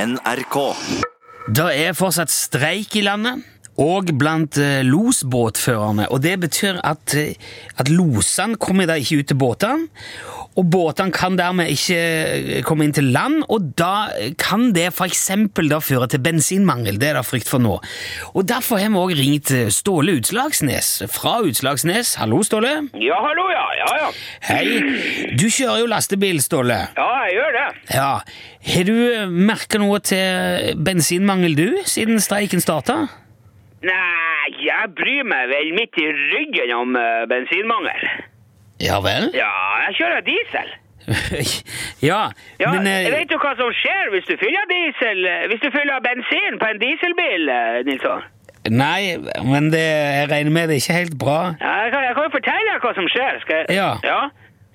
NRK. Det er fortsatt streik i landet, og blant eh, losbåtførerne. Og det betyr at, eh, at losene kommer da ikke ut til båtene, og båtene kan dermed ikke eh, komme inn til land, og da kan det for eksempel da føre til bensinmangel. Det er det frykt for nå. Og derfor har vi også ringt eh, Ståle Utslagsnes fra Utslagsnes. Hallo, Ståle. Ja, hallo, ja. Ja, ja. Hei. Du kjører jo lastebil, Ståle. Ja, jeg gjør det. Ja. Har du merka noe til bensinmangel, du, siden streiken starta? Nei, jeg bryr meg vel midt i ryggen om eh, bensinmangel. Ja vel? Ja, jeg kjører diesel. ja, Ja, men eh, Vet du hva som skjer hvis du fyller diesel, eh, hvis du fyller bensin på en dieselbil, eh, Nilsson? Nei, men det, jeg regner med det er ikke helt bra. Ja, Jeg kan, jeg kan jo fortelle deg hva som skjer. Skal jeg? Ja.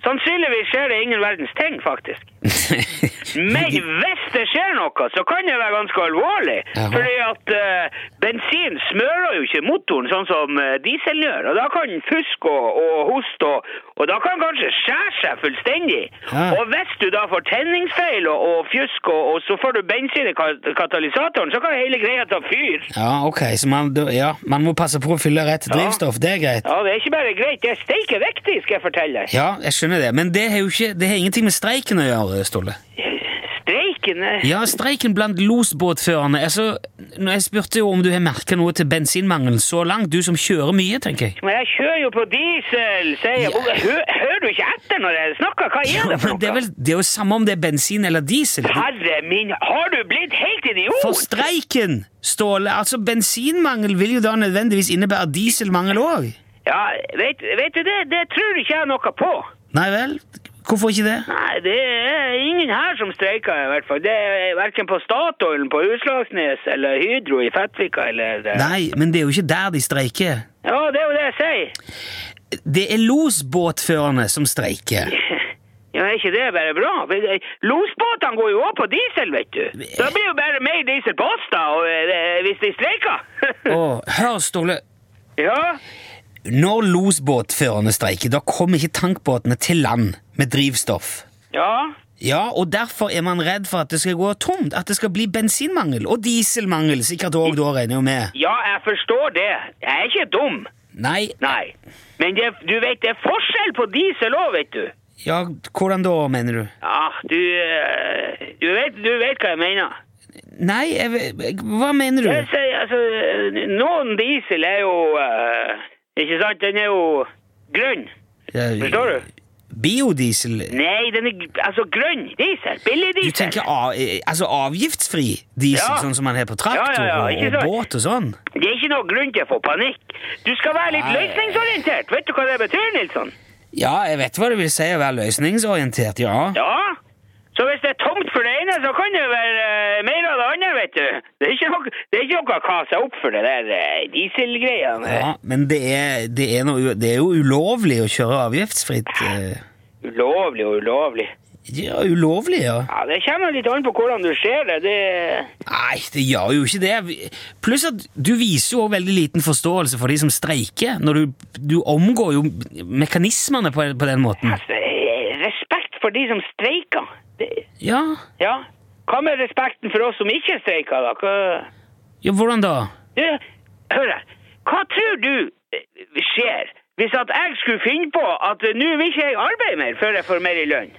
Sannsynligvis skjer det ingen verdens ting, faktisk. Men hvis det skjer noe, så kan det være ganske alvorlig. Jaha. Fordi at eh, bensin smører jo ikke motoren sånn som eh, diesel gjør. Og da kan den fuske og, og hoste, og, og da kan den kanskje skjære seg fullstendig. Ja. Og hvis du da får tenningsfeil og, og fjusk, og, og så får du bensin i ka- katalysatoren, så kan hele greia ta fyr. ja, ok, så man, da- ja, man må passe på å fylle rett Ja. drivstoff. Det er greit. Ja, det er ikke bare greit, det er steike viktig, skal jeg fortelle deg. Ja, jeg skjønner det, men det har jo ikke, det har ingenting med streiken å gjøre, Ståle. Streiken eh, Ja, streiken blant losbåtførerne. Altså, når jeg spurte jo om du har merka noe til bensinmangelen så langt, du som kjører mye, tenker jeg. Men jeg kjører jo på diesel, sier jeg. Ja. Hø, hører du ikke etter når jeg snakker? Hva er det for Men det er noe? vel det er jo samme om det er bensin eller diesel. Herre min, har du blitt helt For idiot? streiken, Ståle, altså bensinmangel vil jo da nødvendigvis innebære dieselmangel òg. Ja, vet, vet du det? Det tror ikke jeg noe på. Nei vel? Hvorfor ikke det? Nei, det er ingen her som streiker i hvert fall. Det er hverken på Statoilen, på Utslagsnes eller Hydro i Fettvika eller det. Nei, men det er jo ikke der de streiker. Ja, det er jo det jeg sier. Det er losbåtførerne som streiker. Ja, er ikke det bare bra? Losbåtene går jo også på diesel, vet du. Da blir jo bare mer diesel på oss da, og, eh, hvis de streiker. Og hør, Ståle. ja. Når losbåtførerne streiker, da kommer ikke tankbåtene til land med drivstoff. Ja. Ja, og derfor er man redd for at det skal gå tomt, at det skal bli bensinmangel. Og dieselmangel, sikkert òg, da regner jeg jo med. ja, jeg forstår det. Jeg er ikke dum. Nei, Nei. Men det, du vet, det er forskjell på diesel òg, vet du. ja, hvordan da, mener du? Ja, du eh, Du vet, du vet hva jeg mener. Nei, jeg, ve- hva mener du? Jeg sier, altså, eh, noen diesel er jo eh, Ikke sant? Den er jo grønn. Ja, Forstår du? Biodiesel? Nei, den er gr- altså grønn diesel. Billig Du diesel. tenker av, eh, altså avgiftsfri diesel, Ja. sånn som man har på traktor Ja, ja, ja, ikke og, sant. og båt og sånn? Det er ikke noe grunn til å få panikk. Du skal være litt Nei. løsningsorientert. Vet du hva det betyr, Nilsson? Ja, jeg vet hva det vil si å være løsningsorientert, ja. Ja. Så hvis det er tomt for det ene, så kan det være eh, mer av det andre, vet du. Det er ikke noe, det er ikke noe å kase opp for det der eh, dieselgreiene. Ja, men det er, det, er noe, u- det er jo ulovlig å kjøre avgiftsfritt. eh, Ulovlig og ulovlig. Ja, ulovlig, ja. Ja, Det kommer litt an på hvordan du ser det. det Nei, det gjør jo ikke det. Vi- Pluss at du viser jo også veldig liten forståelse for de som streiker, når du, du omgår jo mekanismene på, på den måten. altså, eh, respekt for de som streiker. Det, Ja, ja. Hva med respekten for oss som ikke streiker, da? Hva... ja hvordan da? Du, hør her. Hva tror du eh, skjer hvis at jeg skulle finne på at eh, nå vil ikke jeg arbeide mer før jeg får mer i lønn?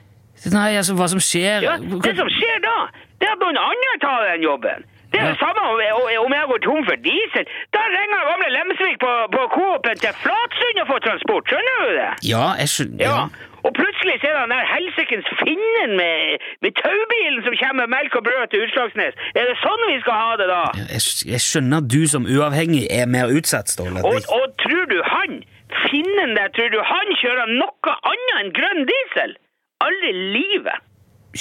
Nei, altså, hva som skjer Ja, det som skjer da, det er at noen andre tar den jobben. Det er det Ja. samme om jeg, om jeg går tom for diesel. Da ringer jeg gamle Lemsvik på, på Coop-en til Flatsund og får transport, skjønner du det? Ja, jeg skjønner Ja. ja. Og plutselig ser han der helsikens finnen med, med taubilen som kommer med melk og brød til Utslagsnes. Er det sånn vi skal ha det da? jeg, skj- jeg skjønner at du som uavhengig er mer utsatt, Ståle. Og, Det- og tror du han, finnen der, tror du han kjører noe annet enn grønn diesel? Aldri i livet.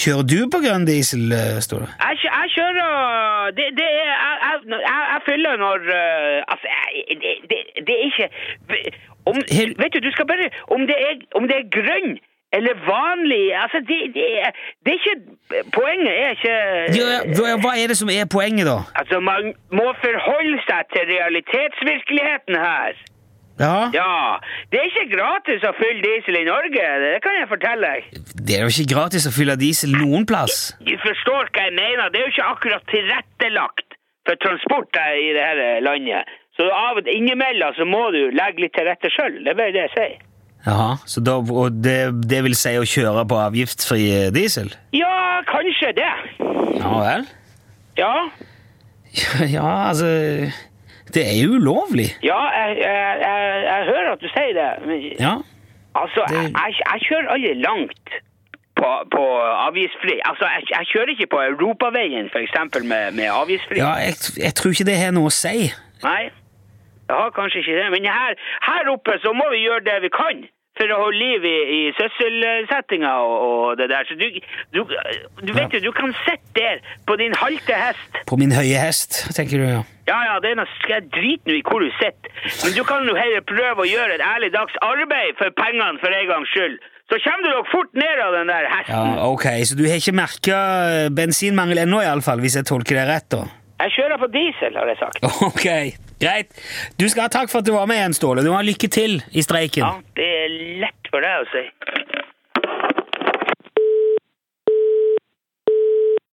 Kjører du på grønn diesel, eh, Ståle? Jeg, kjø- jeg kjører øh, det, det er, jeg, jeg, når- jeg, jeg fyller når øh, Altså, jeg, det, det, det er ikke om, Hel- Vet du, du skal bare Om det er, om det er grønn eller vanlig Altså, det, det, er- det er ikke Poenget er ikke Ja, hva hva er det som er poenget, da? Altså, man må forholde seg til realitetsvirkeligheten her. Ja. Ja, det er ikke gratis å fylle diesel i Norge, det kan jeg fortelle deg. Det er jo ikke gratis å fylle diesel noen plass. Du forstår hva jeg mener, det er jo ikke akkurat tilrettelagt for transport her i det her eh, landet. Så av og innimellom så må du legge litt til rette sjøl, det er bare det jeg sier. Jaha, så da, og det, det vil si å kjøre på avgiftsfri eh, diesel? Ja, kanskje det. Ja vel? Ja, Ja, altså Det er jo ulovlig. ja jeg, jeg, jeg, jeg hører at du sier det. men- Ja. Altså, Det- jeg, jeg, jeg kjører aldri langt på, på avgiftsfri. Altså, jeg, jeg kjører ikke på Europaveien, for eksempel, med, med avgiftsfri. ja jeg, jeg tror ikke det har noe å si. Nei, jeg har kanskje ikke det. Men her, her oppe så må vi gjøre det vi kan for å holde liv i, i sysselsettinga og, og det der. Så du, du, du vet jo, du kan sitte der på din halte hest. På min høye hest, tenker du, ja. Ja, ja, det er noe, skal jeg drite nå i hvor du sitter. Men du kan jo heller prøve å gjøre et ærlig dags arbeid for pengene for en gangs skyld. Så kommer du nok fort ned av den der hesten. Ja, ok, Så du har ikke merka bensinmangel ennå, iallfall, hvis jeg tolker det rett? da? Jeg kjører på diesel, har jeg sagt. Ok, Greit. Du skal ha takk for at du var med igjen, Ståle. Du må ha lykke til i streiken. Ja, det er lett for deg å si.